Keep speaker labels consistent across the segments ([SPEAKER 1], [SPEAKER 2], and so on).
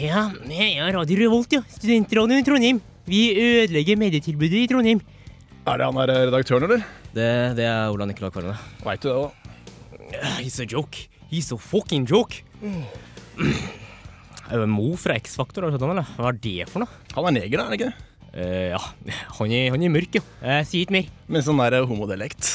[SPEAKER 1] Ja, jeg er Radio Revolt, ja. Studentradioen i Trondheim. Vi ødelegger medietilbudet i Trondheim.
[SPEAKER 2] Er det han der eh, redaktøren, eller?
[SPEAKER 3] Det, det er Ola Nicolai Kvarme.
[SPEAKER 2] Veit du det, da?
[SPEAKER 1] Ah, He's a joke. He's a fucking joke.
[SPEAKER 3] Mm.
[SPEAKER 1] Eh, Mo fra X-Faktor, har du sett
[SPEAKER 3] sånn,
[SPEAKER 1] han, eller? Hva er det for noe?
[SPEAKER 2] Han er neger, er han ikke det?
[SPEAKER 1] Eh, ja, han er, han er mørk, jo. Eh, si ikke mer.
[SPEAKER 2] Med sånn der homodelekt.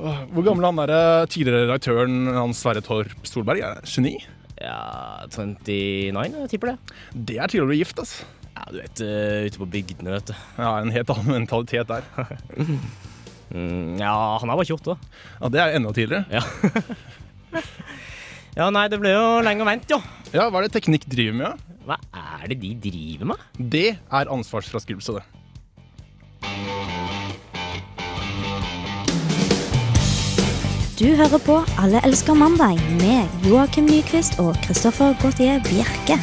[SPEAKER 2] Åh, Hvor gammel er han der eh, tidligere redaktøren han Sverre Torp Solberg? Er det 29?
[SPEAKER 3] Ja, 29, jeg tipper det.
[SPEAKER 2] Det er tidligere å bli gift, ass.
[SPEAKER 3] Ja, du vet, eh, ute på bygdene, vet du.
[SPEAKER 2] Ja, en helt annen mentalitet der.
[SPEAKER 3] Mm, ja, han er bare 28, da.
[SPEAKER 2] Ja, Det er enda tidligere.
[SPEAKER 3] Ja, nei, det ble jo lenge å vente, jo.
[SPEAKER 2] Ja, Hva er det teknikk driver med? Ja?
[SPEAKER 3] Hva er det de driver med?
[SPEAKER 2] Det er ansvarsfraskrivelse, det.
[SPEAKER 4] Du hører på Alle elsker mandag med Joakim Nyquist og Kristoffer Gautier Bjerke.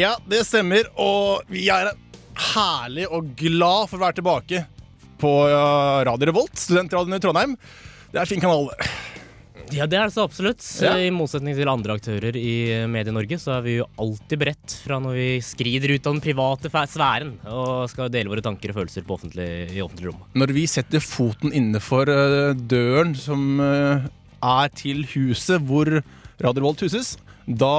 [SPEAKER 2] Ja, det stemmer. Og vi er herlig og glad for å være tilbake på ja, Radio Revolt, studentradioen i Trondheim. Det er en fin kanal.
[SPEAKER 3] Ja, det er det så absolutt.
[SPEAKER 2] Ja.
[SPEAKER 3] I motsetning til andre aktører i Medie-Norge, så er vi jo alltid beredt fra når vi skrider ut av den private fa- sfæren og skal dele våre tanker og følelser på offentlig, i offentlig rom.
[SPEAKER 2] Når vi setter foten innenfor eh, døren som eh, er til huset hvor Radio Revolt huses, da,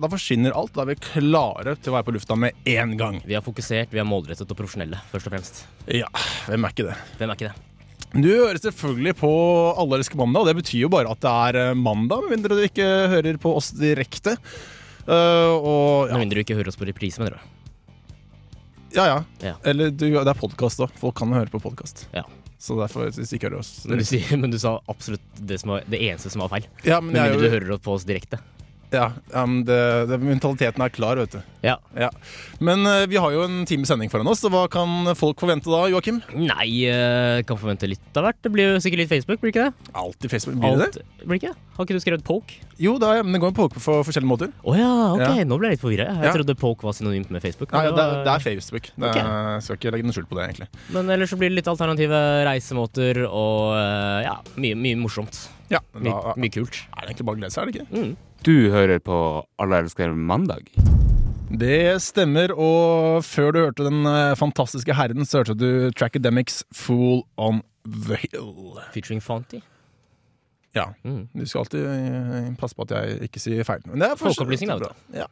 [SPEAKER 2] da forsvinner alt. Da er vi klare til å være på lufta med én gang.
[SPEAKER 3] Vi er fokusert, vi er målrettet og profesjonelle, først og fremst.
[SPEAKER 2] Ja, hvem er ikke det?
[SPEAKER 3] Hvem er ikke det?
[SPEAKER 2] Du hører selvfølgelig på Alle elsker mandag, og det betyr jo bare at det er eh, mandag, med mindre du ikke hører på oss direkte. Eh, og
[SPEAKER 3] Med
[SPEAKER 2] ja,
[SPEAKER 3] mindre du ikke hører oss på reprise, mener du?
[SPEAKER 2] ja. ja.
[SPEAKER 3] Ja.
[SPEAKER 2] Eller du, det er podkast, da. Folk kan høre på podkast.
[SPEAKER 3] Ja.
[SPEAKER 2] Så derfor hvis de ikke hører oss
[SPEAKER 3] Men du, sier, men du sa absolutt det, som var, det eneste som var feil.
[SPEAKER 2] Ja, men
[SPEAKER 3] Med
[SPEAKER 2] jeg,
[SPEAKER 3] mindre du
[SPEAKER 2] er jo-
[SPEAKER 3] hører på oss direkte.
[SPEAKER 2] ja, ja, men det, det, mentaliteten er klar, vet du.
[SPEAKER 3] Ja.
[SPEAKER 2] Ja. Men eh, vi har jo en time sending foran oss, så hva kan folk forvente da, Joakim?
[SPEAKER 3] Nei, eh, kan forvente litt av hvert. Det blir jo sikkert litt Facebook, blir det ikke det?
[SPEAKER 2] Alltid Facebook. Blir det det?
[SPEAKER 3] Alt- Blir det ikke? det? Har ikke du skrevet poke?
[SPEAKER 2] Jo, det er, men det går på, på forskjellige måter.
[SPEAKER 3] Å ja, ok,
[SPEAKER 2] Ja.
[SPEAKER 3] nå ble jeg litt forvirra. Jeg
[SPEAKER 2] Ja.
[SPEAKER 3] trodde poke var synonymt med Facebook.
[SPEAKER 2] Nei,
[SPEAKER 3] men
[SPEAKER 2] det,
[SPEAKER 3] var-
[SPEAKER 2] det er Facebook. Det er, Skal ikke legge noe skjul på det, egentlig.
[SPEAKER 3] Men ellers så blir det litt alternative reisemåter og eh, ja, mye, mye morsomt.
[SPEAKER 2] Ja,
[SPEAKER 3] Mye,
[SPEAKER 2] da er
[SPEAKER 3] mye kult.
[SPEAKER 2] det egentlig bare å glede seg, er det ikke?
[SPEAKER 5] Du hører på Alle elsker mandag.
[SPEAKER 2] Det stemmer, og før du hørte den eh, fantastiske herren, så hørte du Trackademics Fool on the Hill.
[SPEAKER 3] Featuring Fonty.
[SPEAKER 2] Ja.
[SPEAKER 3] Mm.
[SPEAKER 2] Du skal alltid eh, passe på at jeg ikke sier feil. Men det er
[SPEAKER 3] Folkeopplysning, da, vet
[SPEAKER 2] Ja.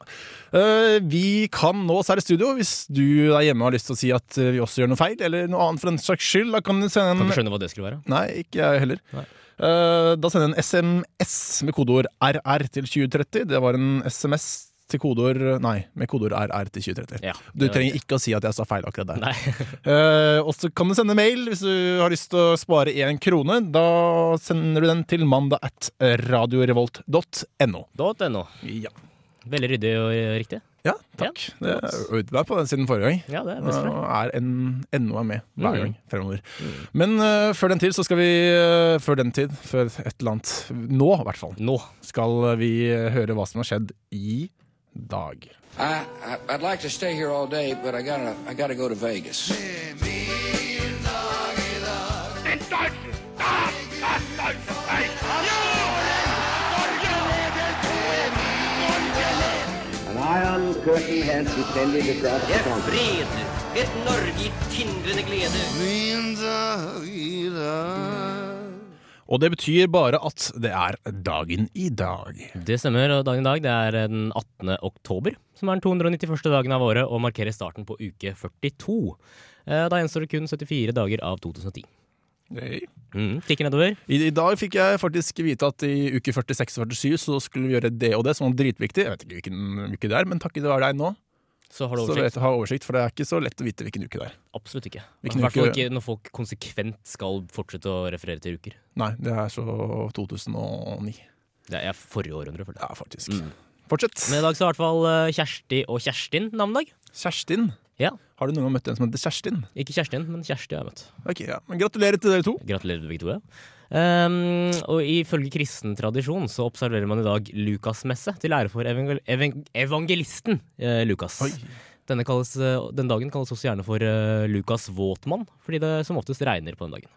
[SPEAKER 2] Eh, vi kan nå oss her i studio. Hvis du der hjemme har lyst til å si at eh, vi også gjør noe feil, eller noe annet for den saks skyld, da kan du sende
[SPEAKER 3] Kan
[SPEAKER 2] en
[SPEAKER 3] ikke skjønne hva det skulle være.
[SPEAKER 2] Nei, ikke jeg heller.
[SPEAKER 3] Nei.
[SPEAKER 2] Eh, da sender jeg en SMS med kodeord RR til 2030. Det var en SMS til kodeord Nei, med kodeord RR til 2030.
[SPEAKER 3] Ja,
[SPEAKER 2] Du
[SPEAKER 3] det var
[SPEAKER 2] trenger ikke å si at jeg sa feil akkurat der.
[SPEAKER 3] Nei.
[SPEAKER 2] Eh, og så kan du sende mail hvis du har lyst til å spare én krone. Da sender du den til mandag at radiorevolt.no.
[SPEAKER 3] Dot .no.
[SPEAKER 2] Ja.
[SPEAKER 3] Veldig ryddig og eh, riktig.
[SPEAKER 2] ja, takk. Det er jo ute der på den siden forrige gang.
[SPEAKER 3] Ja, det er best for
[SPEAKER 2] Og
[SPEAKER 3] deg.
[SPEAKER 2] er en, ennå er med
[SPEAKER 3] Mm.
[SPEAKER 2] hver gang fremover. Men eh, før den tid så skal vi eh, Før den tid, før et eller annet Nå, i hvert fall,
[SPEAKER 3] Nå.
[SPEAKER 2] skal vi eh, høre hva som har skjedd i dag.
[SPEAKER 6] I, I I'd like to stay here all day, but I gotta I gotta go to Vegas.
[SPEAKER 7] An iron curtain has descended across the continent.
[SPEAKER 8] Fred, et Norge i tindrende glede.
[SPEAKER 2] Og det betyr bare at det er dagen i dag.
[SPEAKER 3] Det stemmer. og Dagen i dag det er eh, den 18. oktober, som er den 291. dagen av året og markerer starten på uke 42. Eh, Da gjenstår det kun 74 dager av 2010. Mm, Tikker nedover.
[SPEAKER 2] I, I dag fikk jeg faktisk vite at i uke 46 og 47 så skulle vi gjøre det og det, som var dritviktig. Jeg vet ikke hvilken uke det er, men takket være deg nå
[SPEAKER 3] Så har du
[SPEAKER 2] så
[SPEAKER 3] oversikt.
[SPEAKER 2] vet jeg har oversikt, for det er ikke så lett å vite hvilken uke det er.
[SPEAKER 3] Absolutt ikke. Altså, I
[SPEAKER 2] Hvilken
[SPEAKER 3] hvert fall
[SPEAKER 2] uke-
[SPEAKER 3] ikke når folk konsekvent skal fortsette å referere til uker.
[SPEAKER 2] Nei, det er så 2009.
[SPEAKER 3] Det er forrige århundre, føler jeg.
[SPEAKER 2] Ja, faktisk. Fortsett.
[SPEAKER 3] Mm. Men i dag så har i hvert fall eh, Kjersti og Kjerstin navnedag.
[SPEAKER 2] Kjerstin.
[SPEAKER 3] Ja.
[SPEAKER 2] Har du noen gang møtt en som heter Kjerstin?
[SPEAKER 3] Ikke Kjerstin, men Kjersti har jeg møtt.
[SPEAKER 2] Ok, ja. Men Gratulerer til dere to.
[SPEAKER 3] Gratulerer, begge to. ja. Um, og ifølge kristen tradisjon så observerer man i dag Lukasmesse til ære for evangel evan evangelisten eh, Lukas. Denne kalles, eh, den dagen kalles også gjerne for eh, Lukas Våtmann, fordi det som oftest regner på den dagen.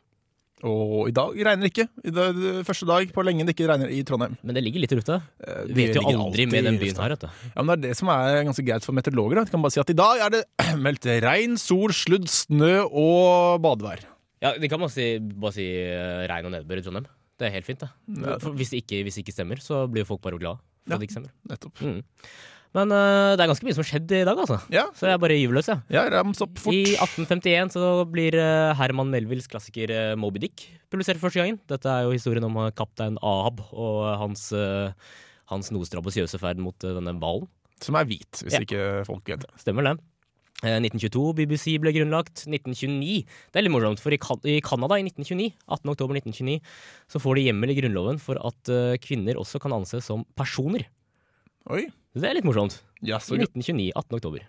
[SPEAKER 2] Og i dag regner det ikke. I dag, det første dag på lenge det ikke regner i Trondheim.
[SPEAKER 3] Men det ligger litt i lufta.
[SPEAKER 2] Eh,
[SPEAKER 3] Du
[SPEAKER 2] det
[SPEAKER 3] vet jo
[SPEAKER 2] ligger
[SPEAKER 3] aldri
[SPEAKER 2] alltid
[SPEAKER 3] med den
[SPEAKER 2] i
[SPEAKER 3] byen
[SPEAKER 2] lufta.
[SPEAKER 3] her, vet du.
[SPEAKER 2] Ja, men Det er det som er ganske greit for meteorologer. da. De kan bare si at i dag er det meldt regn, sol, sludd, snø og badevær.
[SPEAKER 3] Ja, De kan bare si, bare si eh, regn og nedbør i Trondheim. Det er helt fint, det. For Hvis det ikke, hvis det ikke stemmer, så blir jo folk bare glade. for
[SPEAKER 2] Ja.
[SPEAKER 3] at det ikke stemmer.
[SPEAKER 2] Nettopp.
[SPEAKER 3] Mm. Men eh, det er ganske mye som har skjedd i dag, altså.
[SPEAKER 2] Ja,
[SPEAKER 3] Så jeg er bare gyver løs, jeg. Ja.
[SPEAKER 2] ja rams opp fort.
[SPEAKER 3] I 1851 så blir eh, Herman Melvilles klassiker eh, Moby Dick publisert for første gangen. Dette er jo historien om eh, kaptein Ahab og eh, hans, eh, hans noe strabasiøse ferd mot eh, denne hvalen.
[SPEAKER 2] Som er hvit, hvis
[SPEAKER 3] Ja.
[SPEAKER 2] ikke folk vet det.
[SPEAKER 3] Stemmer det. Eh, 1922 BBC ble grunnlagt. 1929 Det er litt morsomt, for i, kan i Canada i 1929, 18. oktober 1929 så får de hjemmel i grunnloven for at eh, kvinner også kan anses som personer.
[SPEAKER 2] Oi.
[SPEAKER 3] Så Det er litt morsomt.
[SPEAKER 2] Ja,
[SPEAKER 3] I
[SPEAKER 2] så gøy.
[SPEAKER 3] 1929, 18. oktober.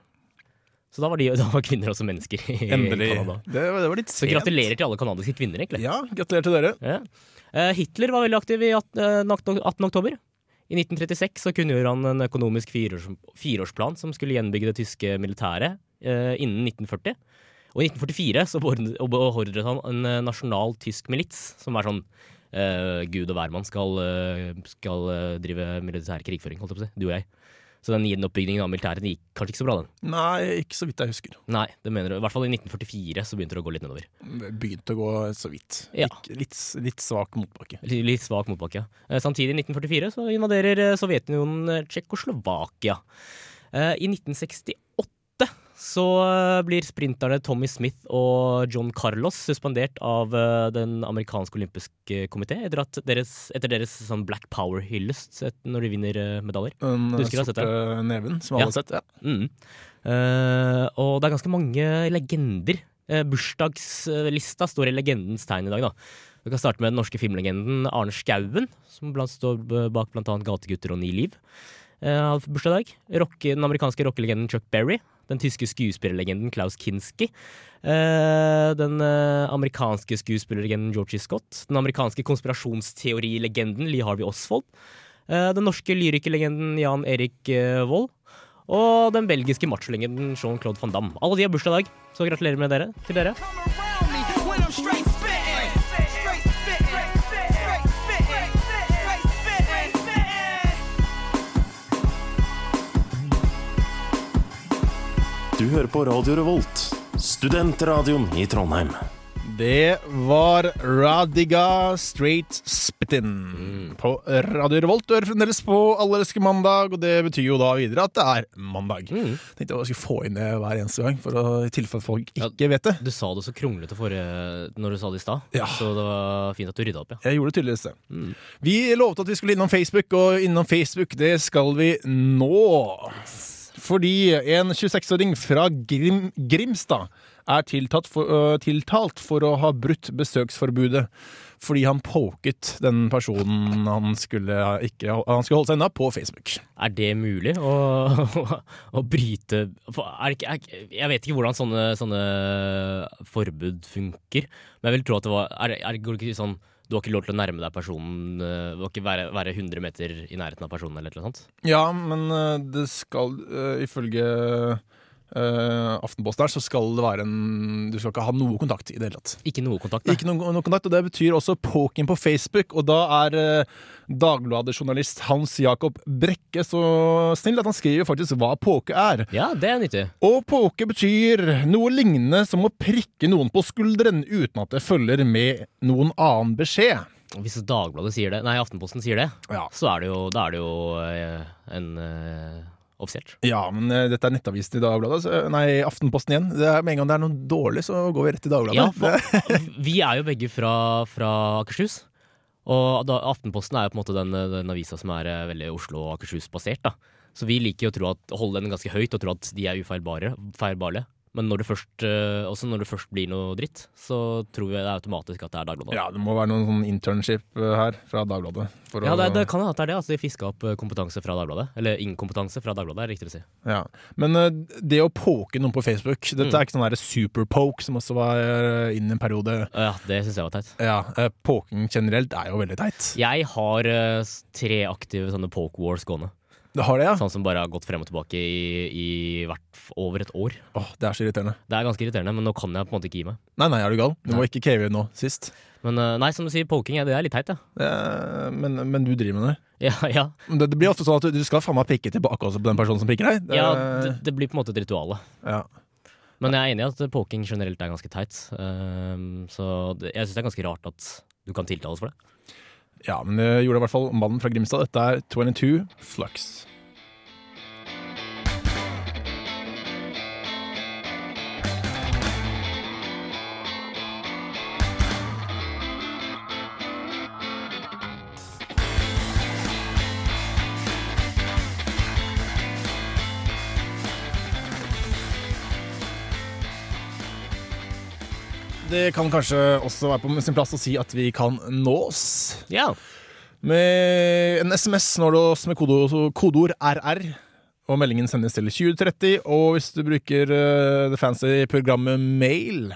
[SPEAKER 3] Så da var, de, da var kvinner også mennesker i
[SPEAKER 2] Endelig.
[SPEAKER 3] Canada.
[SPEAKER 2] Det, var- det var litt
[SPEAKER 3] Så
[SPEAKER 2] sent.
[SPEAKER 3] gratulerer til alle kanadiske kvinner, egentlig.
[SPEAKER 2] Ja, gratulerer til dere.
[SPEAKER 3] Ja. Eh, Hitler var veldig aktiv i 18, eh, den 18. oktober. I 1936 så kunngjorde han en økonomisk fireårs, fireårsplan som skulle gjenbygge det tyske militæret eh, innen 1940. Og i 1944 så beordret og beordret han en eh, nasjonal tysk milits, som er sånn eh, gud og hvermann skal, eh, skal eh, drive militær krigføring, holdt jeg på å si. Du og jeg. Så den gjenoppbyggingen av militæret den gikk kanskje ikke så bra, den.
[SPEAKER 2] Nei, ikke så vidt jeg husker.
[SPEAKER 3] Nei, det mener du. I hvert fall i 1944 så begynte det å gå litt nedover.
[SPEAKER 2] Det begynte å gå så vidt.
[SPEAKER 3] Ja.
[SPEAKER 2] Gikk Litt, litt svak motbakke.
[SPEAKER 3] Litt litt svak motbakke. Eh, Samtidig, i 1944, så invaderer eh, Sovjetunionen eh, Tsjekkoslovakia. Eh, I 1968 så eh, blir sprinterne Tommy Smith og John Carlos suspendert av eh, den amerikanske olympiske komité etter, at deres, etter deres sånn Black Power-hyllest et- når de vinner eh, medaljer.
[SPEAKER 2] Den
[SPEAKER 3] Du husker du har sett
[SPEAKER 2] sorte neven som alle
[SPEAKER 3] Ja.
[SPEAKER 2] har sett. Ja.
[SPEAKER 3] Mm. Eh, og det er ganske mange legender. Eh, bursdagslista står i legendens tegn i dag, da. Vi kan starte med den norske filmlegenden Arne Skauen, som blant, står b- bak bl.a. 'Gategutter' og 'Ni liv'. Eh, har bursdag i dag. Rock, den amerikanske rockelegenden Chuck Berry. Den tyske skuespillerlegenden Klaus Kinski. Eh, den eh, amerikanske skuespillerlegenden Georgie Scott. Den amerikanske konspirasjonsteorilegenden Lee Harvey Oswald. Eh, den norske lyrikerlegenden Jan Erik eh, Vold. Og den belgiske macholegenden Jean-Claude van Damme. Alle de har bursdag i dag, så gratulerer med dere, til dere.
[SPEAKER 9] Du hører på Radio Revolt, studentradioen i Trondheim.
[SPEAKER 2] Det var Radiga Straight Spittin på Radio Revolt. Du hører fremdeles på Allelske mandag, og det betyr jo da videre at det er mandag. Tenkte jeg bare skulle få inn det hver eneste gang, for å, i tilfelle folk ikke vet det.
[SPEAKER 3] Du sa det så kronglete forrige, når du sa det i stad,
[SPEAKER 2] Ja.
[SPEAKER 3] så det var fint at du rydda opp, ja.
[SPEAKER 2] Jeg gjorde det tydeligvis det. Vi lovte at vi skulle innom Facebook, og innom Facebook det skal vi nå. Fordi en 26-åring fra Grim, Grimstad er tiltalt for, øh, tiltalt for å ha brutt besøksforbudet. Fordi han poket den personen han skulle, ikke, han skulle holde seg unna, på Facebook.
[SPEAKER 3] Er det mulig å, å, bryte for er det ikke, er, ikke- Jeg vet ikke hvordan sånne, sånne forbud funker, men jeg vil tro at det var er, det- er, det- Går det ikke sånn du har ikke lov til å nærme deg personen eh, Du har ikke være, være 100 meter i nærheten av personen eller noe sånt?
[SPEAKER 2] Ja, men øh, det skal øh, ifølge øh, Aftenposten her, så skal det være en Du skal ikke ha noe kontakt i det hele tatt.
[SPEAKER 3] Ikke noe kontakt, nei.
[SPEAKER 2] Ikke noe, noe kontakt, og det betyr også poking på Facebook. Og da er eh, Dagbladet-journalist Hans Jacob Brekke så snill at han skriver faktisk hva poke er.
[SPEAKER 3] Ja, det er nyttig.
[SPEAKER 2] Og poke betyr noe lignende som å prikke noen på skulderen uten at det følger med noen annen beskjed.
[SPEAKER 3] Hvis Dagbladet sier det, nei, Aftenposten sier det,
[SPEAKER 2] Ja.
[SPEAKER 3] så er det jo, da er det jo eh, en eh, offisielt.
[SPEAKER 2] Ja, men eh, dette er nettavisen i Dagbladet. Så, eh, nei, Aftenposten igjen. Det er, med en gang det er noe dårlig, så går vi rett til Dagbladet.
[SPEAKER 3] Ja, for, vi er jo begge fra, fra Akershus. Og da, Aftenposten er jo på en måte den, den avisa som er eh, veldig Oslo- og Akershus-basert. da. Så vi liker jo å tro at, å holde den ganske høyt og tro at de er ufeilbare. feilbare. Men når det, først, eh, også når det først blir noe dritt, så tror vi det er automatisk at det er Dagbladet.
[SPEAKER 2] ja, det må være noen sånn internship eh, her fra Dagbladet. for
[SPEAKER 3] Ja,
[SPEAKER 2] å-
[SPEAKER 3] det, det kan hende at det er det. Altså, de fiska opp eh, kompetanse fra Dagbladet. Eller inkompetanse fra Dagbladet, er det riktig å si.
[SPEAKER 2] Ja. Men eh, det å poke noen på Facebook Dette er ikke sånn der superpoke, som også var eh, inn i en periode.
[SPEAKER 3] Ja, Eh, Det syns jeg var teit.
[SPEAKER 2] Ja, eh, Poking generelt er jo veldig teit.
[SPEAKER 3] Jeg har eh, s- tre aktive sånne poke wars gående.
[SPEAKER 2] Det har det, ja?
[SPEAKER 3] Sånn som bare har gått frem og tilbake i, i hvert, f- over et år.
[SPEAKER 2] Åh, det er så irriterende.
[SPEAKER 3] Det er ganske irriterende, men nå kan jeg på en måte ikke gi meg.
[SPEAKER 2] Nei, nei, er du gal? Du må ikke cave nå sist.
[SPEAKER 3] Men eh, nei, som du sier, poking ja, det er litt teit, ja.
[SPEAKER 2] Eh, men, men du driver med det.
[SPEAKER 3] Ja, ja.
[SPEAKER 2] Men Det, det blir ofte sånn at du, du skal faen meg pikke tilbake også på den personen som pikker deg. Det-
[SPEAKER 3] ja det, det blir på en måte et ritual. da.
[SPEAKER 2] ja.
[SPEAKER 3] Men jeg er enig i at poking generelt er ganske teit. eh, så det, jeg syns det er ganske rart at du kan tiltales for det.
[SPEAKER 2] ja, men det gjorde i hvert fall mannen fra Grimstad. Dette er 22 Flux. Det kan kanskje også være på sin plass å si at vi kan nås
[SPEAKER 3] Ja.
[SPEAKER 2] Med en SMS når du oss med kodeord, kodeord RR. Og meldingen sendes til 2030. Og hvis du bruker eh, det fancy programmet mail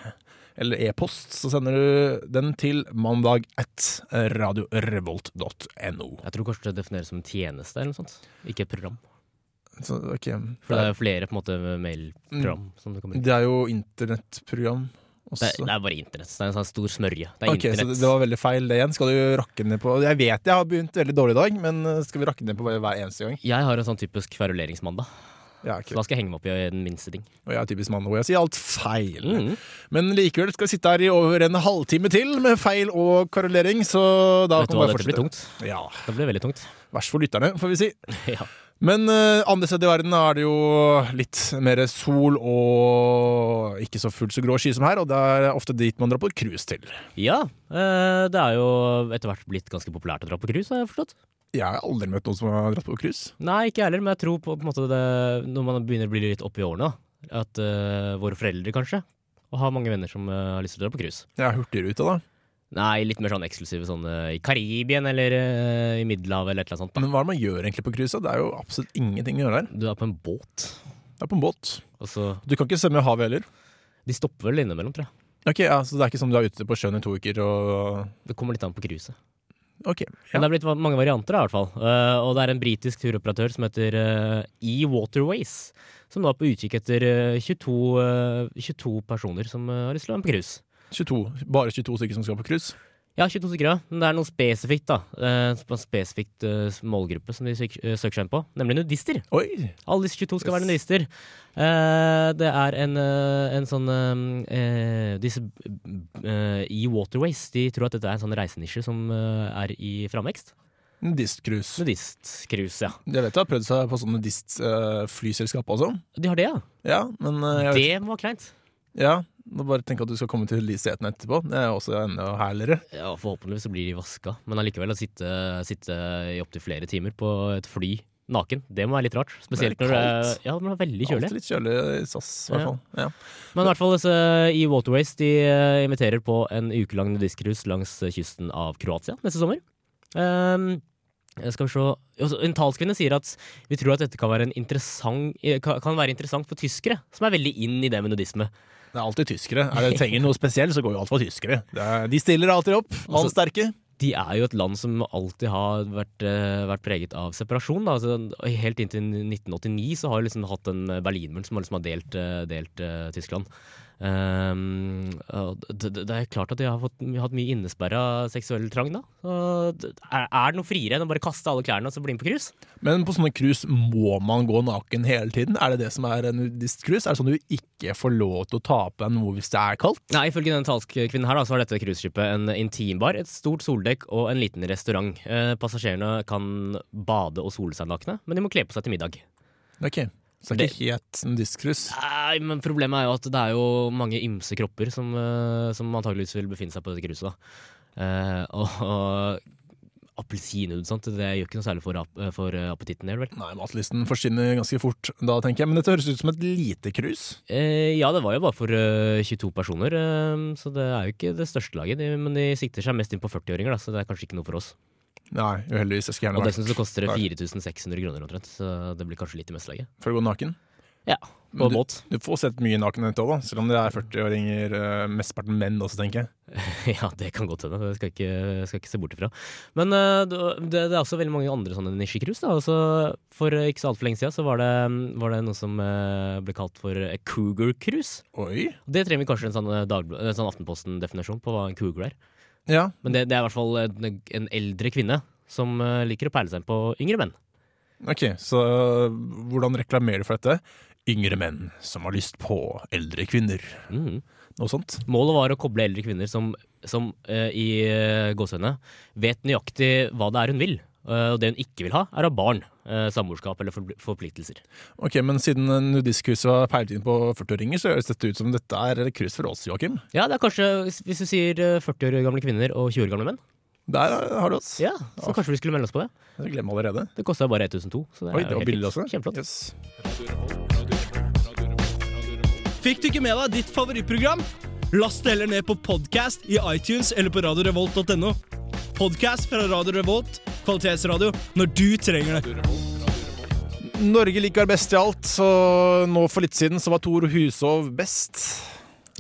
[SPEAKER 2] eller e-post, så sender du den til mandag at radiorevolt.no.
[SPEAKER 3] Jeg tror kanskje det defineres som en tjeneste eller noe sånt, ikke et program.
[SPEAKER 2] Så ok,
[SPEAKER 3] For det er jo flere på en måte mailprogram
[SPEAKER 2] Mm.
[SPEAKER 3] som du kan bruke.
[SPEAKER 2] det er jo internettprogram
[SPEAKER 3] Det,
[SPEAKER 2] også.
[SPEAKER 3] er- det er bare internett. Det er en sånn stor smørje. Det er
[SPEAKER 2] Ok, så det,
[SPEAKER 3] internett.
[SPEAKER 2] det var veldig feil det igjen. Skal du rakke ned på Jeg vet jeg har begynt veldig dårlig i dag, men eh, skal vi rakke ned på hver hver eneste gang?
[SPEAKER 3] Jeg har en sånn typisk kveruleringsmandag.
[SPEAKER 2] Ja,
[SPEAKER 3] Så
[SPEAKER 2] ok.
[SPEAKER 3] da skal jeg henge meg opp i den minste ting.
[SPEAKER 2] Og jeg er typisk mann hvor jeg sier alt feil.
[SPEAKER 3] Mm.
[SPEAKER 2] Men likevel skal vi sitte her i over en halvtime til med feil og karolering, så da
[SPEAKER 3] Vet du
[SPEAKER 2] kan vi
[SPEAKER 3] hva,
[SPEAKER 2] bare
[SPEAKER 3] dette blir
[SPEAKER 2] fortsette.
[SPEAKER 3] tungt.
[SPEAKER 2] Ja,
[SPEAKER 3] Det blir veldig tungt.
[SPEAKER 2] Verst for lytterne, får vi si.
[SPEAKER 3] ja.
[SPEAKER 2] Men eh, andre steder i verden er det jo litt mer sol og ikke så fullt så grå sky som her, og det er ofte dit man drar på cruise til.
[SPEAKER 3] ja eh, det er jo etter hvert blitt ganske populært å dra på cruise, har jeg forstått.
[SPEAKER 2] Jeg har aldri møtt noen som har dratt på cruise.
[SPEAKER 3] Nei, ikke jeg heller, men jeg tror på, på en måte det Når man begynner å bli litt opp i årene, da, at eh, våre foreldre kanskje og har mange venner som eh, har lyst til å dra på cruise.
[SPEAKER 2] Jeg er hurtigruta, da.
[SPEAKER 3] Nei, litt mer sånn eksklusive sånn eh, i Karibien eller eh, i Middelhavet eller et eller annet sånt.
[SPEAKER 2] Men hva er det man gjør egentlig på cruise? da? Det er jo absolutt ingenting å gjøre der.
[SPEAKER 3] Da. Du er på en båt,
[SPEAKER 2] Det er på en båt.
[SPEAKER 3] og så
[SPEAKER 2] Du kan ikke svømme i havet heller.
[SPEAKER 3] De stopper vel innimellom, tror jeg.
[SPEAKER 2] Ok, ja, Så det er ikke som du er ute på sjøen i to uker og
[SPEAKER 3] Det kommer litt an på cruiset.
[SPEAKER 2] Ok.
[SPEAKER 3] Men det er blitt va- mange varianter, da, i hvert fall. Eh, og det er en britisk turoperatør som heter eh, E-Waterways, som nå er på utkikk etter eh, 22, eh, 22 personer som eh, har lyst til å være med på cruise.
[SPEAKER 2] 22, bare 22 stykker som skal på cruise.
[SPEAKER 3] Ja, 22 stykker, ja. Men det er noe spesifikt, da. Eh, på en spesifikt eh, målgruppe som de søk, eh, søker seg inn på, nemlig nudister.
[SPEAKER 2] Oi!
[SPEAKER 3] Alle disse 22 skal være nudister. Eh, det er en, eh, en sånn eh, eh, Disse eh, i Waterways de tror at dette er en sånn reisenisje som eh, er i framvekst.
[SPEAKER 2] Nudistcruise.
[SPEAKER 3] Nudistcruise, ja.
[SPEAKER 2] Jeg vet de har prøvd seg på sånn nudistflyselskap også.
[SPEAKER 3] De har det, ja.
[SPEAKER 2] Ja, men eh, jeg vet,
[SPEAKER 3] Det må være kleint.
[SPEAKER 2] ja, må bare tenk at du skal komme til Lyseten etterpå. Det er også enda herligere.
[SPEAKER 3] Ja, Forhåpentligvis så blir de vaska, men allikevel å sitte, sitte i opptil flere timer på et fly naken, det må være litt rart. Spesielt
[SPEAKER 2] Det er
[SPEAKER 3] når det er,
[SPEAKER 2] kaldt.
[SPEAKER 3] ja, det må være veldig kjølig.
[SPEAKER 2] Alltid litt kjølig i SAS, i hvert
[SPEAKER 3] Ja.
[SPEAKER 2] fall. Ja.
[SPEAKER 3] Men i hvert fall disse i Waterways de eh, inviterer på en ukelang nudistcruise langs eh, kysten av Kroatia neste sommer. Ehm, skal vi se Også, En talskvinne sier at vi tror at dette kan være, en interessant, eh, kan kan være interessant for tyskere, som er veldig inn i det med nudisme.
[SPEAKER 2] Det er alltid tyskere. Er det trenger noe spesielt, så går jo alt for tyskere. Det er, de stiller alltid opp. Mannsterke.
[SPEAKER 3] De er jo et land som alltid har vært, eh, vært preget av separasjon. Da. Altså, helt inntil 1989 så har vi liksom hatt en Berlinmuren som har liksom har delt, eh, delt eh, Tyskland. Ehm, og det, det det er klart at de har fått, vi har hatt mye innesperra seksuell trang, da. Og det- er, er det noe friere enn å bare kaste alle klærne og så bli med på cruise?
[SPEAKER 2] Men på sånne cruise må man gå naken hele tiden. Er det det som er en nudistcruise? Er det sånn du ikke får lov til å ta på deg noe hvis det er kaldt?
[SPEAKER 3] Nei, Ifølge denne talskvinnen her da, så var dette cruiseskipet en intimbar, et stort soldekk og en liten restaurant. Eh, passasjerene kan bade og sole seg nakne, men de må kle på seg til middag.
[SPEAKER 2] Ok, så det er ikke helt nudistcruise.
[SPEAKER 3] Nei, men problemet er jo at det er jo mange ymse kropper som, eh, som antageligvis vil befinne seg på dette kruset. da. Eh, og og appelsinhud, sant. Det gjør ikke noe særlig for, ap- eh, for eh, appetitten, gjør det vel?
[SPEAKER 2] Nei, matlysten forsvinner ganske fort da, tenker jeg. Men dette høres ut som et lite krus.
[SPEAKER 3] Eh, ja, det var jo bare for eh, 22 personer, eh, så det er jo ikke det største laget. De, men de sikter seg mest inn på 40-åringer, da, så det er kanskje ikke noe for oss.
[SPEAKER 2] Nei, uheldigvis. Jeg skulle
[SPEAKER 3] Og
[SPEAKER 2] gjerne
[SPEAKER 3] dessuten så koster det
[SPEAKER 2] Nei.
[SPEAKER 3] 4600 kroner omtrent, så det blir kanskje litt i meste laget.
[SPEAKER 2] For å gå naken?
[SPEAKER 3] Ja. på en båt.
[SPEAKER 2] Du får sett mye nakenhet òg, da. Selv om det er 40-åringer, eh, mesteparten menn også, tenker jeg.
[SPEAKER 3] Ja, det kan godt hende. Det skal jeg ikke, jeg skal ikke se bort ifra. Men eh, det, det er også veldig mange andre sånne nisjekrus. da. Altså, for ikke så altfor lenge siden så var det, var det noe som eh, ble kalt for eh, cougar cruise.
[SPEAKER 2] Oi.
[SPEAKER 3] Det trenger vi kanskje en sånn, eh, dagbl- en sånn Aftenposten-definisjon på hva en cougar er.
[SPEAKER 2] Ja.
[SPEAKER 3] Men det, det er i hvert fall en, en eldre kvinne som eh, liker å perle seg inn på yngre menn.
[SPEAKER 2] Ok, så eh, hvordan reklamerer du for dette? Yngre menn som har lyst på eldre kvinner.
[SPEAKER 3] Mhm.
[SPEAKER 2] Noe sånt.
[SPEAKER 3] Målet var å koble eldre kvinner som, som eh, i uh, gåsehudene vet nøyaktig hva det er hun vil. Eh, og det hun ikke vil ha, er av barn. eh, samboerskap eller forpl- forpliktelser.
[SPEAKER 2] Ok, Men siden nudistcruiset var peilet inn på 40-åringer, så høres dette ut som dette er cruise for oss, Joakim.
[SPEAKER 3] Ja, det er kanskje hvis du sier eh, 40 år gamle kvinner og 20 år gamle menn.
[SPEAKER 2] Der har du oss.
[SPEAKER 3] Ja, Så kanskje vi skulle melde oss på det.
[SPEAKER 2] Jeg glemmer allerede.
[SPEAKER 3] Det kosta bare 1002. Så det
[SPEAKER 2] Oi,
[SPEAKER 3] er
[SPEAKER 2] det
[SPEAKER 3] jo
[SPEAKER 2] var
[SPEAKER 3] helt
[SPEAKER 2] billig
[SPEAKER 3] fint.
[SPEAKER 2] også.
[SPEAKER 3] Kjempeflott.
[SPEAKER 2] Yes.
[SPEAKER 10] Fikk du ikke med deg ditt favorittprogram? Last det heller ned på podcast i iTunes eller på radiorevolt.no. Podcast fra Radio Revolt, kvalitetsradio, når du trenger det.
[SPEAKER 2] Norge liker best i alt, så nå for litt siden så var Tor Hushov best.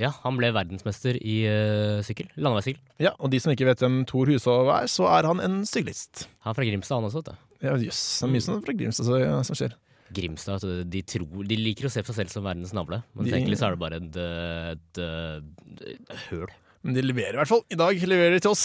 [SPEAKER 3] Ja, Han ble verdensmester i eh, sykkel. Landeveissykkel.
[SPEAKER 2] Ja, Og de som ikke vet hvem Tor Hushov er, så er han en syklist.
[SPEAKER 3] Han er fra Grimstad, han også. vet du.
[SPEAKER 2] Ja, Jøss, det er mye sånn fra Grimstad som som skjer.
[SPEAKER 3] Grimstad, vet du, de, tror, de liker å se på seg selv som verdens navle, men
[SPEAKER 2] De-
[SPEAKER 3] egentlig så er det bare et, et, eh, et, et høl.
[SPEAKER 2] Men de leverer i hvert fall. I dag leverer de til oss,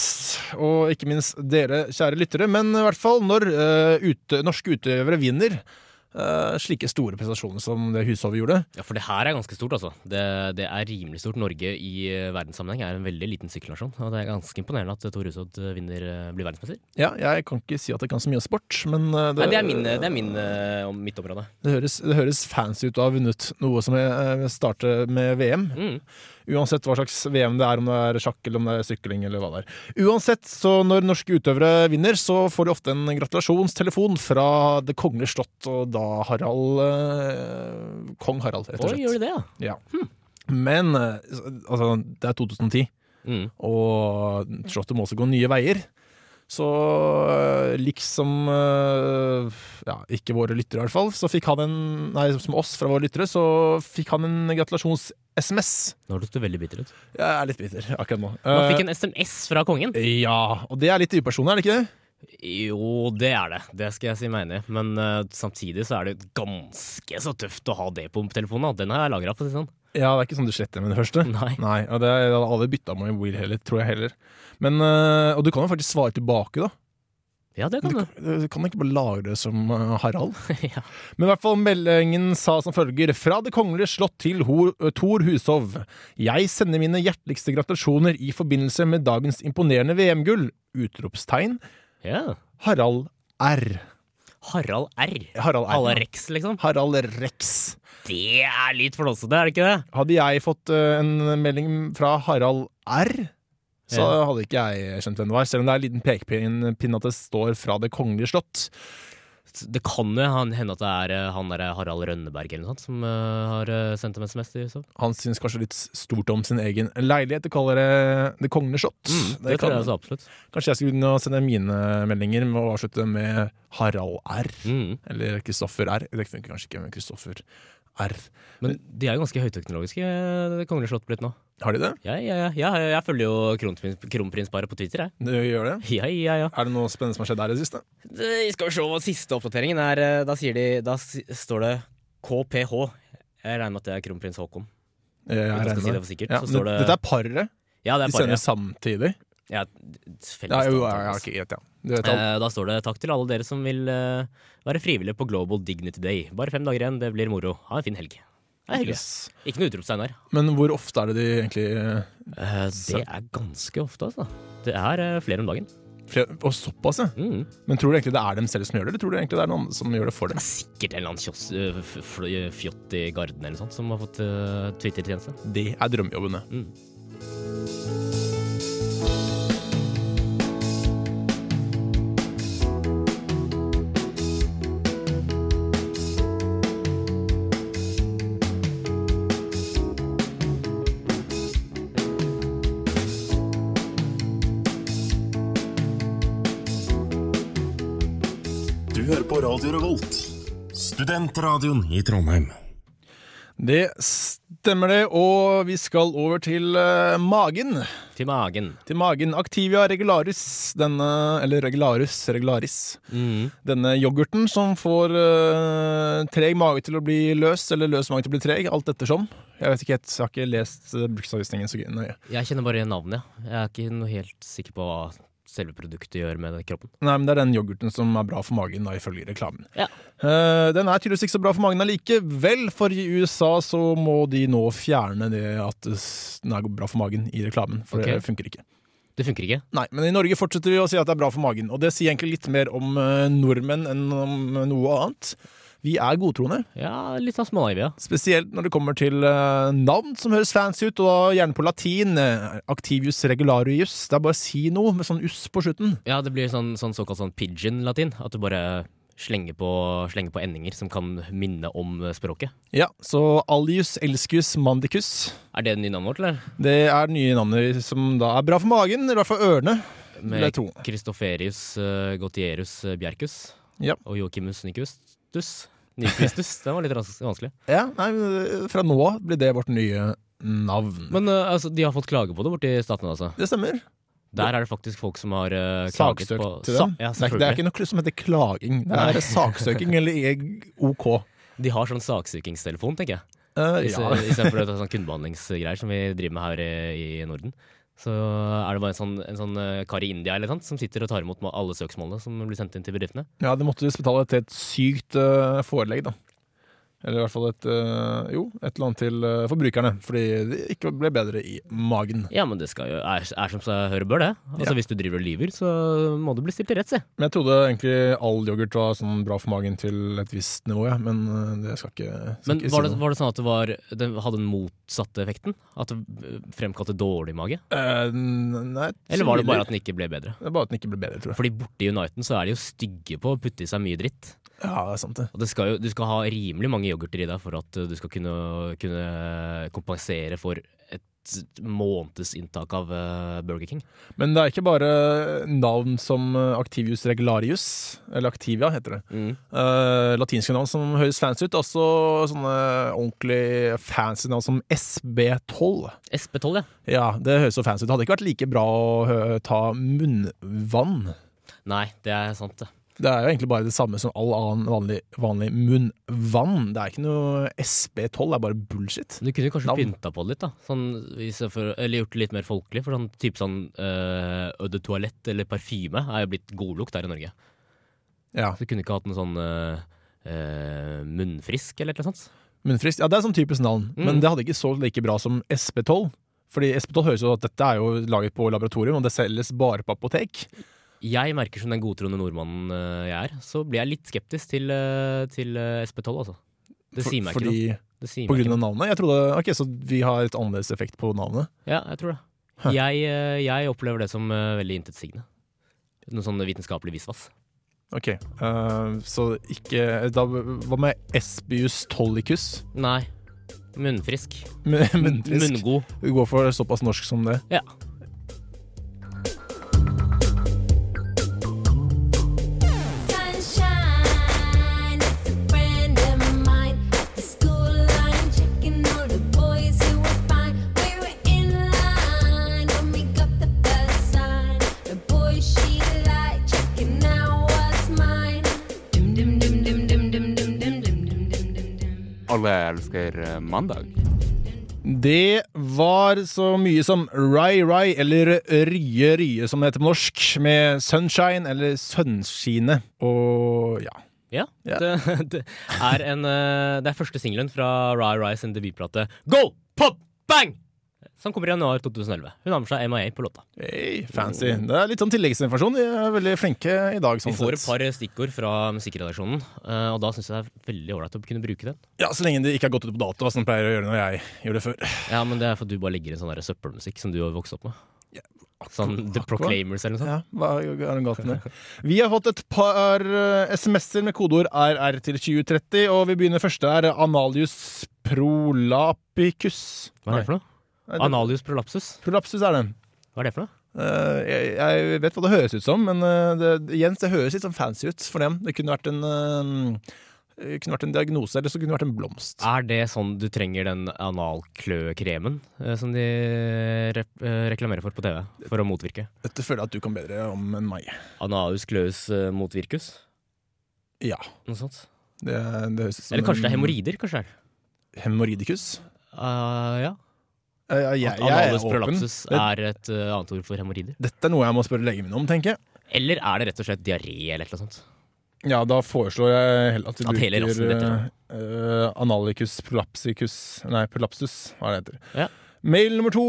[SPEAKER 2] og ikke minst dere, kjære lyttere. Men i hvert fall når eh, ute, norske utøvere vinner eh, slike store prestasjoner som det Hushov gjorde.
[SPEAKER 3] Ja, For det her er ganske stort, altså. Det, det er rimelig stort. Norge i eh, verdenssammenheng er en veldig liten sykkelnasjon. Og det er ganske imponerende at Tor Hushovd vinner, eh, blir verdensmester.
[SPEAKER 2] Ja, jeg kan ikke si at jeg kan så mye om sport, men eh, det,
[SPEAKER 3] Nei, det er, min, det er min, eh, om mitt område.
[SPEAKER 2] det høres, det høres fancy ut å ha vunnet noe som eh, starter med VM.
[SPEAKER 3] Mm.
[SPEAKER 2] Uansett hva slags VM det er, om det er sjakk eller om det er sykling eller hva det er. Uansett, så når norske utøvere vinner, så får de ofte en gratulasjonstelefon fra det kongelige slott, og da Harald eh, Kong Harald, rett og
[SPEAKER 3] Oi,
[SPEAKER 2] slett.
[SPEAKER 3] gjør du det, ja?
[SPEAKER 2] Ja. Men eh, altså, det er 2010,
[SPEAKER 3] Mm.
[SPEAKER 2] og slottet må også gå nye veier. Så eh, liksom eh, ja, ikke våre lyttere i hvert fall, så fikk han en Nei, som oss fra våre lyttere, så fikk han en gratulasjons-SMS.
[SPEAKER 3] Nå hørtes du veldig bitter ut.
[SPEAKER 2] Jeg er litt bitter akkurat nå.
[SPEAKER 3] Man fikk en SMS fra kongen.
[SPEAKER 2] Eh, ja, og det er litt upersonlig, er det ikke det?
[SPEAKER 3] Jo, det er det. Det skal jeg si meg enig i. Men eh, samtidig så er det ganske så tøft å ha det på telefonen. Da. Den har jeg lagra, for å si det sånn.
[SPEAKER 2] Ja, det er ikke sånn du sletter med det første.
[SPEAKER 3] Nei.
[SPEAKER 2] Nei og det jeg hadde aldri bytta med Will heller, tror jeg heller. Men, eh, og du kan jo faktisk svare tilbake, da.
[SPEAKER 3] Ja, det
[SPEAKER 2] Du
[SPEAKER 3] kan du.
[SPEAKER 2] kan, du kan ikke bare lagre det som eh, Harald.
[SPEAKER 3] ja.
[SPEAKER 2] Men i hvert fall meldingen sa som følger Fra det kongelige slott til Ho- Thor Hushov Jeg sender mine hjerteligste gratulasjoner i forbindelse med dagens imponerende VM-gull Utropstegn
[SPEAKER 3] ja.
[SPEAKER 2] Harald R
[SPEAKER 3] Harald R.
[SPEAKER 2] Harald R
[SPEAKER 3] Harald Rex, liksom.
[SPEAKER 2] Harald Rex
[SPEAKER 3] Det er litt flåsete, er det ikke det?
[SPEAKER 2] Hadde jeg fått eh, en melding fra Harald R så
[SPEAKER 3] Ja.
[SPEAKER 2] hadde ikke jeg skjønt hvem det var, selv om det er en liten pekepinn pinn at det står fra det kongelige slott.
[SPEAKER 3] Det kan jo han- hende at det er eh, han der Harald Rønneberg eller noe sånt som eh, har eh, sendt dem en SMS. til Hushovd.
[SPEAKER 2] Han syns kanskje litt stort om sin egen leilighet. Det kaller det det kongelige slott.
[SPEAKER 3] Mm, det
[SPEAKER 2] Det kan-
[SPEAKER 3] tror jeg også absolutt.
[SPEAKER 2] Kanskje jeg skulle begynne å sende mine meldinger med å avslutte med Harald R.
[SPEAKER 3] Mm.
[SPEAKER 2] Eller Kristoffer R. Det funker kanskje ikke med Kristoffer R.
[SPEAKER 3] Men de er jo ganske høyteknologiske, det kongelige slott blitt nå.
[SPEAKER 2] Har de det?
[SPEAKER 3] Ja, ja, ja. ja jeg, jeg følger jo kronprins, kronprinsparet på Twitter, jeg.
[SPEAKER 2] De gjør det.
[SPEAKER 3] Ja, ja, ja.
[SPEAKER 2] Er det noe spennende som har skjedd der i det siste?
[SPEAKER 3] Det- Skal vi se hva siste oppdateringen er. eh, Da, sier de, da s- står det KPH. Jeg regner med at det er kronprins Haakon.
[SPEAKER 2] Jeg
[SPEAKER 3] Uten at jeg skal si det for sikkert, så står det-
[SPEAKER 2] Dette er paret.
[SPEAKER 3] Ja, det
[SPEAKER 2] De
[SPEAKER 3] er paret.
[SPEAKER 2] sender
[SPEAKER 3] ja.
[SPEAKER 2] samtidig.
[SPEAKER 3] Ja, felles
[SPEAKER 2] Ja, jo,
[SPEAKER 3] data,
[SPEAKER 2] ja, ja,
[SPEAKER 3] altså.
[SPEAKER 2] ok, greit, ja. Du vet alt.
[SPEAKER 3] Eh, Da står det 'Takk til alle dere som vil eh, være frivillige på Global Dignity Day'. Bare fem dager igjen, det blir moro. Ha en fin helg. Det er hyggelig.
[SPEAKER 2] Yes.
[SPEAKER 3] Ikke noe utropstegn der.
[SPEAKER 2] Men hvor ofte er det de egentlig eh,
[SPEAKER 3] Eh, Det er ganske ofte, altså. Det er eh, flere om dagen.
[SPEAKER 2] flere- Og såpass, ja.
[SPEAKER 3] Mm.
[SPEAKER 2] Men tror du egentlig det er dem selv som gjør det, eller tror du egentlig det er noen andre som gjør det for
[SPEAKER 3] Det
[SPEAKER 2] dem?
[SPEAKER 3] er sikkert en eller annen kiosk, ø, f- fl- fjott i Garden eller noe sånt som har fått ø, Twitter-tjeneste.
[SPEAKER 2] Det er drømmejobbene.
[SPEAKER 3] Mm.
[SPEAKER 9] Du hører på Radio Revolt, studentradioen i Trondheim.
[SPEAKER 2] Det stemmer det, og vi skal over til eh, magen.
[SPEAKER 3] Til magen.
[SPEAKER 2] Til magen. Activia regularis, denne Eller regularis, regularis.
[SPEAKER 3] Mm.
[SPEAKER 2] Denne yoghurten som får eh, treg mage til å bli løs, eller løs mage til å bli treg, alt ettersom. Jeg vet ikke helt, jeg har ikke lest uh, bruksanvisningen så nøye.
[SPEAKER 3] Jeg kjenner bare navnet. ja. Jeg er ikke noe helt sikker på hva selve produktet gjør med kroppen.
[SPEAKER 2] Nei, men det er den yoghurten som er bra for magen, da, ifølge reklamen.
[SPEAKER 3] Ja.
[SPEAKER 2] Eh, den er tydeligvis ikke så bra for magen allikevel, for i USA så må de nå fjerne det at eh, s- den er bra for magen i reklamen, for
[SPEAKER 3] Ok.
[SPEAKER 2] det funker ikke.
[SPEAKER 3] Det funker ikke.
[SPEAKER 2] Nei, men i Norge fortsetter vi å si at det er bra for magen, og det sier egentlig litt mer om eh, nordmenn enn om noe annet. Vi er godtroende,
[SPEAKER 3] Ja, litt sånn smånaive, ja.
[SPEAKER 2] spesielt når det kommer til eh, navn som høres fancy ut, og da gjerne på latin. eh, Activius regularius. Det er bare å si noe med sånn uss på slutten.
[SPEAKER 3] Ja, det blir sånn, sånn såkalt sånn pidgin-latin. At du bare slenger på, slenger på endinger som kan minne om språket.
[SPEAKER 2] Ja, så alius elscus mandicus.
[SPEAKER 3] Er det det nye navnet vårt, eller?
[SPEAKER 2] Det er det nye navnet som da er bra for magen, i hvert fall ørene. vil jeg
[SPEAKER 3] Med
[SPEAKER 2] tro.
[SPEAKER 3] Kristoferius uh, Gautierus eh, Bjerkus
[SPEAKER 2] Ja.
[SPEAKER 3] og Joachimus Nyquistus. Nyquistus, den var litt ras- vanskelig.
[SPEAKER 2] Ja, nei, men eh, Fra nå av blir det vårt nye navn.
[SPEAKER 3] Men eh, altså, de har fått klage på det borti statene, altså.
[SPEAKER 2] det stemmer.
[SPEAKER 3] Der er det faktisk folk som har eh, klaget
[SPEAKER 2] Saksøkt
[SPEAKER 3] på
[SPEAKER 2] til
[SPEAKER 3] Sa-
[SPEAKER 2] dem.
[SPEAKER 3] Ja,
[SPEAKER 2] det, er, ikke- det er
[SPEAKER 3] selvfølgelig.
[SPEAKER 2] ikke noe som heter klaging. Det er saksøking eller e- OK.
[SPEAKER 3] De har sånn saksøkingstelefon, tenker jeg.
[SPEAKER 2] Eh,
[SPEAKER 3] I
[SPEAKER 2] ja.
[SPEAKER 3] Istedenfor sånn kundebehandlingsgreier som vi driver med her i, i Norden. Så er det bare en sånn, en sånn eh, kar i India eller noe sånt, som sitter og tar imot ma- alle søksmålene som blir sendt inn til bedriftene.
[SPEAKER 2] ja, det måtte visst betale til et sykt eh, forelegg, da. Eller i hvert fall et eh, Jo, et eller annet til eh, forbrukerne. Fordi det ikke ble bedre i magen.
[SPEAKER 3] Ja, men det skal jo, er, er som seg hør og bør, det. Altså
[SPEAKER 2] Ja.
[SPEAKER 3] Hvis du driver og lyver, så må du bli stilt til rett, se.
[SPEAKER 2] Men jeg trodde egentlig all yoghurt var sånn bra for magen til et visst nivå, ja. men eh, det skal ikke, skal
[SPEAKER 3] Men
[SPEAKER 2] ikke
[SPEAKER 3] var
[SPEAKER 2] si
[SPEAKER 3] det,
[SPEAKER 2] noe.
[SPEAKER 3] var det sånn at det var, den hadde den motsatte effekten? At det eh, fremkalte dårlig mage?
[SPEAKER 2] Eh, nei,
[SPEAKER 3] Eller var det
[SPEAKER 2] tviler.
[SPEAKER 3] bare at den ikke ble bedre?
[SPEAKER 2] Det er bare at den ikke ble bedre, tror jeg.
[SPEAKER 3] Fordi borte i Uniten så er de jo stygge på å putte i seg mye dritt.
[SPEAKER 2] Ja, det er sant det.
[SPEAKER 3] Og det skal jo, du skal ha rimelig mange yoghurter i deg for at eh, du skal kunne, kunne kompensere for et måneds inntak av eh, Burger King.
[SPEAKER 2] Men det er ikke bare navn som eh, Activius regularius, eller Activia heter det. Eh, latinske navn som høres fancy ut, også sånne ordentlig fancy navn som SB12.
[SPEAKER 3] SB12, ja.
[SPEAKER 2] Ja, det høres så fancy ut. Det hadde ikke vært like bra å eh, ta munnvann.
[SPEAKER 3] Nei, det er sant, det.
[SPEAKER 2] Det er jo egentlig bare det samme som all annen vanlig, vanlig munnvann. Det er ikke noe SB12, det er bare bullshit.
[SPEAKER 3] Men Du kunne kanskje
[SPEAKER 2] Navn.
[SPEAKER 3] pynta på det litt, da. Sånn, i stedet for, eller gjort det litt mer folkelig. For sånn type sånn uh, Eau de Toilette eller parfyme er jo blitt godlukt her i Norge.
[SPEAKER 2] Ja.
[SPEAKER 3] Så du kunne ikke hatt noe sånn eh, eh, munnfrisk eller noe sånt.
[SPEAKER 2] Munnfrist. Ja, det er sånn typisk navn,
[SPEAKER 3] Mm.
[SPEAKER 2] men det hadde ikke så like bra som SP12. Fordi SP12 høres jo at dette er jo laget på laboratorium, og det selges bare på apotek.
[SPEAKER 3] Jeg merker som den godtroende nordmannen eh, jeg er, så blir jeg litt skeptisk til, eh, til eh, SP12, altså. Det
[SPEAKER 2] For-
[SPEAKER 3] sier meg
[SPEAKER 2] fordi,
[SPEAKER 3] ikke noe. Det sier
[SPEAKER 2] På
[SPEAKER 3] meg ikke
[SPEAKER 2] grunn av navnet? Jeg trodde, ok, Så vi har et annerledes effekt på navnet?
[SPEAKER 3] noe. Ja, jeg tror det.
[SPEAKER 2] Hæ.
[SPEAKER 3] Jeg, eh, jeg opplever det som eh, veldig intetsigende. Noe sånn vitenskapelig visvas.
[SPEAKER 2] Ok, eh, Så ikke da, Hva med Espius tollicus?
[SPEAKER 3] Nei. Munnfrisk.
[SPEAKER 2] Mun- Munnfrisk.
[SPEAKER 3] Munngod.
[SPEAKER 2] Vi går for såpass norsk som det.
[SPEAKER 3] Ja.
[SPEAKER 5] Alle elsker eh, mandag.
[SPEAKER 2] Det var så mye som Rai Rai, eller Rye Rye som det heter på norsk, med Sunshine, eller Sønskine. Og ja.
[SPEAKER 3] Ja.
[SPEAKER 2] Ja.
[SPEAKER 3] Det, det, er en, eh, det er første singelen fra Rai Rai sin debutplate Go! Pop! Bang! Som kommer i januar 2011. Hun har med seg MIA på låta.
[SPEAKER 2] Hey, fancy. Det er litt sånn tilleggsinformasjon. De er veldig flinke i dag.
[SPEAKER 3] Vi
[SPEAKER 2] sånn
[SPEAKER 3] får et
[SPEAKER 2] sett.
[SPEAKER 3] par stikkord fra musikkredaksjonen, eh, og da syns jeg det er veldig ålreit å kunne bruke den.
[SPEAKER 2] Ja, Så lenge det ikke har gått ut på dato, som de pleier å gjøre når jeg gjør det før.
[SPEAKER 3] Ja, men det er fordi du bare legger inn sånn der søppelmusikk som du har vokst opp med. Sånn The
[SPEAKER 2] akkurat.
[SPEAKER 3] Proclaimers eller noe sånt.
[SPEAKER 2] Ja, hva er det galt med det? Vi har fått et par eh, SMS-er med kodeord RR til 2030, og vi begynner første her. Analius prolapicus.
[SPEAKER 3] Hva er det for noe?
[SPEAKER 2] Nei, det-
[SPEAKER 3] Analius prolapsus.
[SPEAKER 2] Prolapsus er den.
[SPEAKER 3] Hva er det for noe?
[SPEAKER 2] Eh, jeg, jeg vet hva det høres ut som, men eh, det, igjen, det høres litt sånn fancy ut for dem. Det kunne vært en eh, eh, kunne vært en diagnose, eller så kunne det vært en blomst.
[SPEAKER 3] Er det sånn du trenger den analkløkremen eh, som de rep- eh, reklamerer for på TV? For å motvirke?
[SPEAKER 2] Dette føler jeg at du kan bedre om enn meg.
[SPEAKER 3] Anaus kløus eh, motvirkus?
[SPEAKER 2] Ja, Mm.
[SPEAKER 3] Noe sånt?
[SPEAKER 2] det, det høres ut som
[SPEAKER 3] Eller kanskje det er
[SPEAKER 2] en-
[SPEAKER 3] hemoroider? kanskje det er det?
[SPEAKER 2] Hemoroidikus?
[SPEAKER 3] Eh, ja.
[SPEAKER 2] Eh, Jeg, jeg,
[SPEAKER 3] At
[SPEAKER 2] jeg
[SPEAKER 3] analus
[SPEAKER 2] er åpen.
[SPEAKER 3] prolapsus er et eh, annet ord for hemoroider?
[SPEAKER 2] Dette er noe jeg må spørre legen min om, tenker jeg.
[SPEAKER 3] Eller er det rett og slett diaré eller noe sånt?
[SPEAKER 2] Ja, da foreslår jeg heller at vi
[SPEAKER 3] At hele
[SPEAKER 2] bruker
[SPEAKER 3] rassen detter
[SPEAKER 2] eh, analicus prolapsicus Nei, prolapsus, hva er det heter.
[SPEAKER 3] Ja.
[SPEAKER 2] Mail nummer to.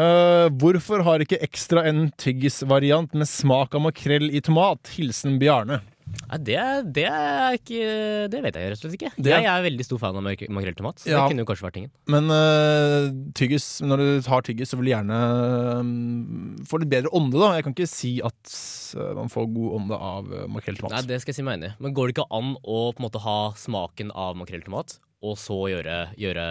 [SPEAKER 2] Eh, hvorfor har ikke Ekstra en tyggisvariant med smak av makrell i tomat? Hilsen Bjarne.
[SPEAKER 3] Nei, det, det er ikke Det vet jeg rett og slett ikke.
[SPEAKER 2] Det-
[SPEAKER 3] Jeg er veldig stor fan av mak- makrelltomat. så
[SPEAKER 2] Ja.
[SPEAKER 3] Det kunne jo kanskje vært tingen.
[SPEAKER 2] Men eh, tyggis, når du tar tyggis, så vil du gjerne mm, få litt bedre ånde, da. Jeg kan ikke si at eh, man får god ånde av uh,
[SPEAKER 3] Nei,
[SPEAKER 2] makrelltomat.
[SPEAKER 3] det skal jeg si meg enig i. Men går det ikke an å på en måte ha smaken av makrelltomat, og så gjøre, gjøre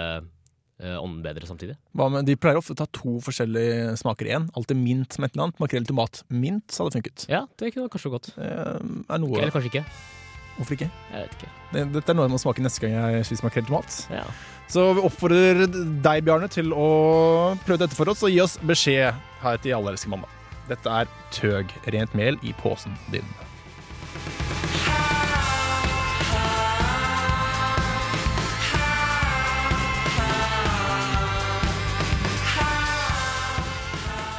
[SPEAKER 3] eh, ånden bedre samtidig?
[SPEAKER 2] Hva med- De pleier ofte å ta to forskjellige smaker i én. Alltid mint med et eller annet. Makrell, tomat, mint hadde funket.
[SPEAKER 3] Ja, det kunne kanskje gått.
[SPEAKER 2] Det er noe
[SPEAKER 3] Eller kanskje ikke.
[SPEAKER 2] Hvorfor ikke?
[SPEAKER 3] Jeg vet ikke.
[SPEAKER 2] Det- Dette er noe jeg må smake neste gang jeg spiser makrell i tomat.
[SPEAKER 3] Ja.
[SPEAKER 2] Så vi oppfordrer deg, Bjarne, til å prøve dette for oss, og gi oss beskjed her til Alle elsker mamma. Dette er Tøg rent mel i posen din.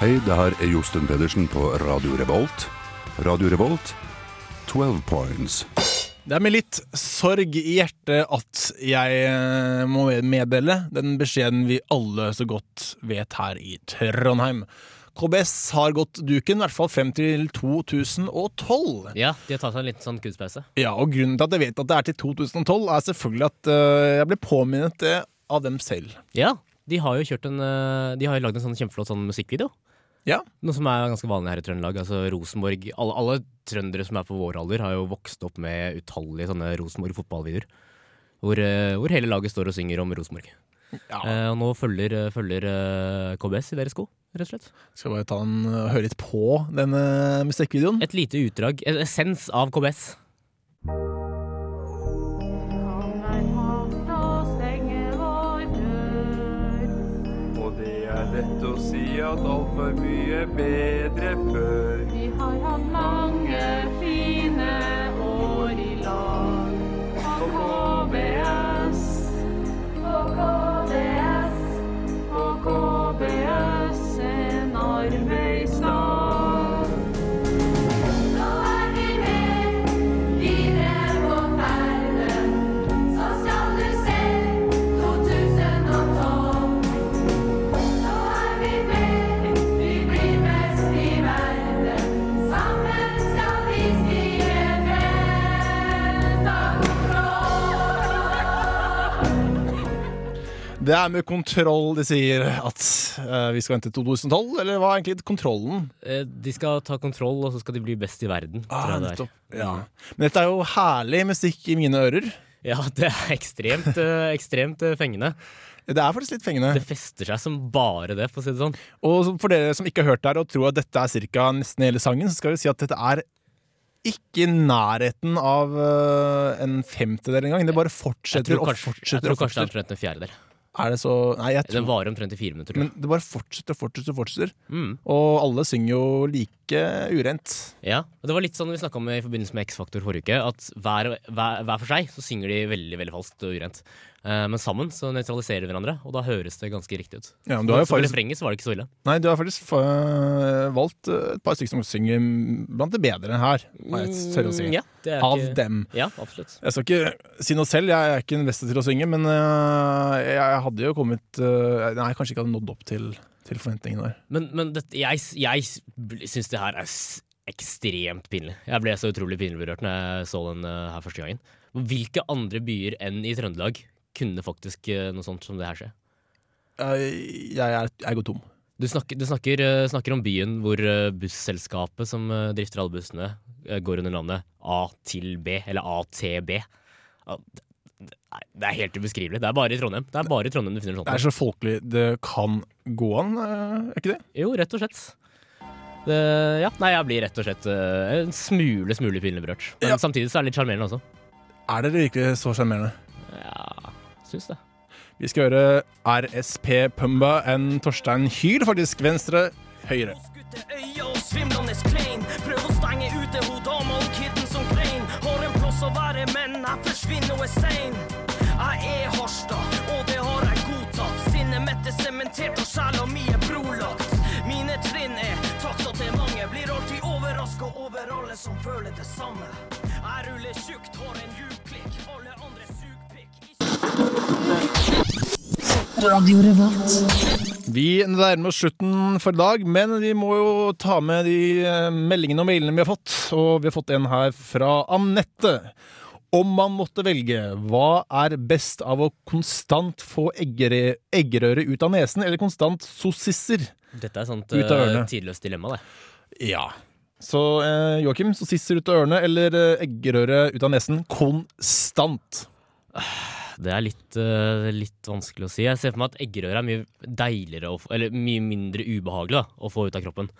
[SPEAKER 11] Hei, det her er Josten Pedersen på Radio Revolt. Radio Revolt, 12 points.
[SPEAKER 2] Det er med litt sorg i hjertet at jeg eh, må meddele den beskjeden vi alle så godt vet her i Trondheim. KBS har gått duken, i hvert fall frem til 2012.
[SPEAKER 3] ja, de har tatt seg en liten sånn kunstpause.
[SPEAKER 2] Ja, og grunnen til at jeg vet at det er til 2012, er selvfølgelig at øh, jeg ble påminnet det av dem selv.
[SPEAKER 3] Ja, de har jo kjørt en eh, De har jo lagd en sånn kjempeflott sånn musikkvideo.
[SPEAKER 2] Ja.
[SPEAKER 3] Noe som er ganske vanlig her i Trøndelag. Altså Rosenborg Alle, alle trøndere som er på vår alder, har jo vokst opp med utallige sånne Rosenborg fotballvideoer. Hvor, eh, hvor hele laget står og synger om Rosenborg. Eh, og nå følger, følger eh, KBS i deres sko, rett og slett.
[SPEAKER 2] Skal bare ta en, øh, høre litt på denne musikkvideoen.
[SPEAKER 3] Et lite utdrag, en essens av KBS.
[SPEAKER 7] Og det er lett å si at alt var mye bedre før.
[SPEAKER 8] Vi har hatt mange fine år i lag. På KBS, på KBS, på KBS en arbeidsdag. Så er vi med videre på ferden. Så skal du se 2012. Så er vi med, vi blir best i verden. Sammen skal vi skrive
[SPEAKER 2] Det er med kontroll de sier at øh, vi skal vente til 2012, eller hva er egentlig kontrollen?
[SPEAKER 3] Eh, de skal ta kontroll, og så skal de bli best i verden. tror jeg det
[SPEAKER 2] Ah,
[SPEAKER 3] er. Mm.
[SPEAKER 2] nettopp. Ja. Men dette er jo herlig musikk i mine ører.
[SPEAKER 3] Ja, det er ekstremt, eh, ekstremt eh, fengende.
[SPEAKER 2] Det er faktisk litt fengende.
[SPEAKER 3] Det fester seg som bare det, for å si det sånn.
[SPEAKER 2] Og for dere som ikke har hørt det her og tror at dette er cirka nesten hele sangen, så skal vi si at dette er ikke i nærheten av øh, en femtedel engang. Det bare
[SPEAKER 3] Jeg
[SPEAKER 2] fortsetter
[SPEAKER 3] tror
[SPEAKER 2] og
[SPEAKER 3] kanskje, jeg
[SPEAKER 2] fortsetter.
[SPEAKER 3] tror
[SPEAKER 2] og
[SPEAKER 3] kanskje det er
[SPEAKER 2] fortsetter.
[SPEAKER 3] omtrent en fjerdedel.
[SPEAKER 2] Er det så Nei, jeg
[SPEAKER 3] Den
[SPEAKER 2] tror
[SPEAKER 3] varer omtrent i fire minutter. Tror
[SPEAKER 2] Men
[SPEAKER 3] jeg.
[SPEAKER 2] det bare fortsetter og fortsetter og fortsetter.
[SPEAKER 3] Mm.
[SPEAKER 2] Og alle synger jo like urent.
[SPEAKER 3] Ja, og Det var litt sånn vi snakka om i forbindelse med X-Faktor forrige uke, at hver, hver, hver for seg så synger de veldig veldig falskt og urent. Eh, men sammen så nøytraliserer de hverandre, og da høres det ganske riktig ut.
[SPEAKER 2] Ja, men du har jo
[SPEAKER 3] så i
[SPEAKER 2] faktisk-
[SPEAKER 3] refrenget så var det ikke så ille.
[SPEAKER 2] Nei, du har faktisk øh, valgt øh, et par stykker som synger blant det bedre her, må jeg tørre å si.
[SPEAKER 3] Mm, ja, det er
[SPEAKER 2] Av
[SPEAKER 3] ikke-
[SPEAKER 2] dem.
[SPEAKER 3] Ja, absolutt.
[SPEAKER 2] Jeg skal ikke si noe selv, jeg er ikke den beste til å synge, men øh, jeg hadde jo kommet øh, Nei, kanskje ikke hadde nådd opp til, til forventningene der.
[SPEAKER 3] Men, men dette- jeg, jeg syns det her er s- ekstremt pinlig. Jeg ble så utrolig pinlig berørt når jeg så den eh, her første gangen. Hvilke andre byer enn i Trøndelag kunne faktisk eh, noe sånt som det her skje?
[SPEAKER 2] Jeg, jeg, er, jeg går tom.
[SPEAKER 3] Du, snakker, du snakker, eh, snakker om byen hvor eh, busselskapet som eh, drifter alle bussene, eh, går under navnet A til B, eller ATB. Ja, det- det- nei, Det er helt ubeskrivelig. Det er bare i Trondheim Det er bare i Trondheim du finner sånt.
[SPEAKER 2] Det er så folkelig det kan gå an, øh, er ikke det?
[SPEAKER 3] Jo, rett og slett. Det, ja, nei, jeg blir rett og slett eh, en smule, smule pinlig berørt. Men
[SPEAKER 2] Ja.
[SPEAKER 3] samtidig så er det litt sjarmerende også.
[SPEAKER 2] Er dere virkelig så sjarmerende?
[SPEAKER 3] Ja, syns det.
[SPEAKER 2] Vi skal høre RSP Pumba enn Torstein Hyl, faktisk venstre, høyre.
[SPEAKER 12] øye og svimlende klein. Prøv å stenge ute ho dama og kidden som grein. Har en plass å være, men jeg forsvinner og er sein. Jeg er Harstad, og det har jeg godtatt. Sinnet mitt er sementert, og sjela mi er brolagt. Mine trinn er takta til mange. Blir alltid overraska over alle som føler det samme. Jeg ruller tjukt, har en djup klikk. Alle andre
[SPEAKER 2] Vi nærmer oss slutten for i dag, men vi må jo ta med de eh, meldingene og mailene vi har fått. Og vi har fått en her fra Anette. Om man måtte velge, hva er best av å konstant få eggere, eggerøre ut av nesen, eller konstant sossisser?
[SPEAKER 3] Dette er sånt
[SPEAKER 2] Ut av
[SPEAKER 3] eh,
[SPEAKER 2] ørene.
[SPEAKER 3] tidløst dilemma, det.
[SPEAKER 2] Ja. Så eh, Joakim, sossisser ut av ørene eller eh, eggerøre ut av nesen konstant?
[SPEAKER 3] Det er litt, eh, litt vanskelig å si. Jeg ser for meg at eggerøre er mye deiligere å få, Eller mye mindre ubehagelig da, å få ut av kroppen.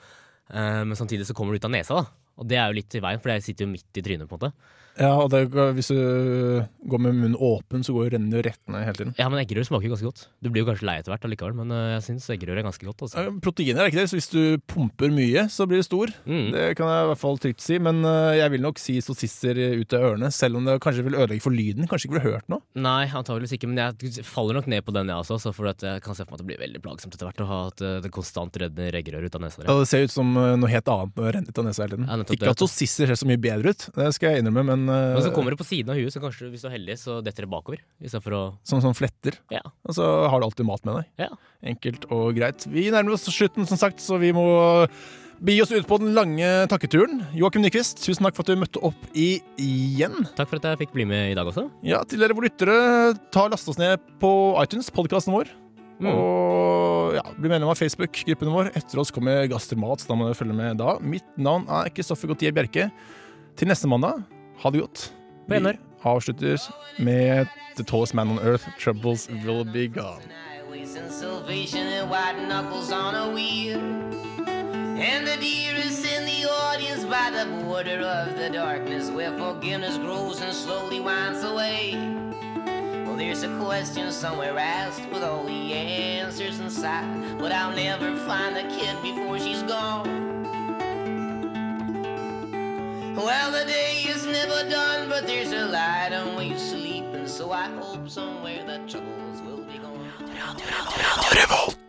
[SPEAKER 3] Eh, men samtidig så kommer det ut av nesa, da. Og det er jo litt i veien, for jeg sitter jo midt i trynet. på en måte
[SPEAKER 2] Ja, og det, hvis du går med munnen åpen, så går renner jo rett ned hele tiden.
[SPEAKER 3] Ja, men eggerøre smaker jo ganske godt. Du blir jo kanskje lei etter hvert allikevel, men eh, jeg syns eggerøre er ganske godt. Altså.
[SPEAKER 2] Eh, Proteiner er ikke det, så hvis du pumper mye, så blir du stor.
[SPEAKER 3] Mm.
[SPEAKER 2] Det kan jeg i hvert fall trygt si, men eh, jeg vil nok si sossisser ut av ørene, selv om det kanskje vil ødelegge for lyden. Kanskje ikke blir hørt noe.
[SPEAKER 3] Nei, antageligvis ikke, men jeg faller nok ned på den, jeg også. Så for at jeg kan se for meg at det blir veldig plagsomt etter hvert å ha at eh, det konstant renner eggerøre ut av nesa.
[SPEAKER 2] Ja, det ser ut som eh, noe helt annet når det renner ut av nesa hele tiden.
[SPEAKER 3] Ja, nettopp det,
[SPEAKER 2] ikke at
[SPEAKER 3] vet du.
[SPEAKER 2] sossisser ser så mye bedre ut, det skal jeg innrømme, men, eh,
[SPEAKER 3] Men så kommer det på siden av huet, så kanskje hvis du er heldig, så detter det bakover. Istedenfor å
[SPEAKER 2] som sånn fletter.
[SPEAKER 3] Ja.
[SPEAKER 2] Og så har du alltid mat med deg. Enkelt og greit. Vi nærmer oss slutten, som sagt, så vi må bi oss ut på den lange takketuren. Joakim Nyquist, tusen takk for at du møtte opp igjen.
[SPEAKER 3] Takk for at jeg fikk bli med i dag også.
[SPEAKER 2] Ja, til dere våre lyttere, ta last oss ned på iTunes, podkasten vår. Og ja, bli medlem av Facebook-gruppen vår. Etter oss kommer Gastermat, så da må dere følge med da. Mitt navn er Kristoffer Gautier Bjerke. Til neste mandag, ha det godt.
[SPEAKER 3] På gjenhør.
[SPEAKER 2] Vi avslutter med The Tallest Man on Earth, Troubles Will Be Gone.
[SPEAKER 13] highways and salvation and white knuckles on a wheel. And the dearest in the audience by the border of the darkness where forgiveness grows and slowly winds away. Well, there's a question somewhere asked with all the answers inside, but I'll never find the kid before she's gone. Well, the day is never done, but there's a light on which sleeping, so I hope somewhere the troubles will be gone.
[SPEAKER 8] Radio Revolt.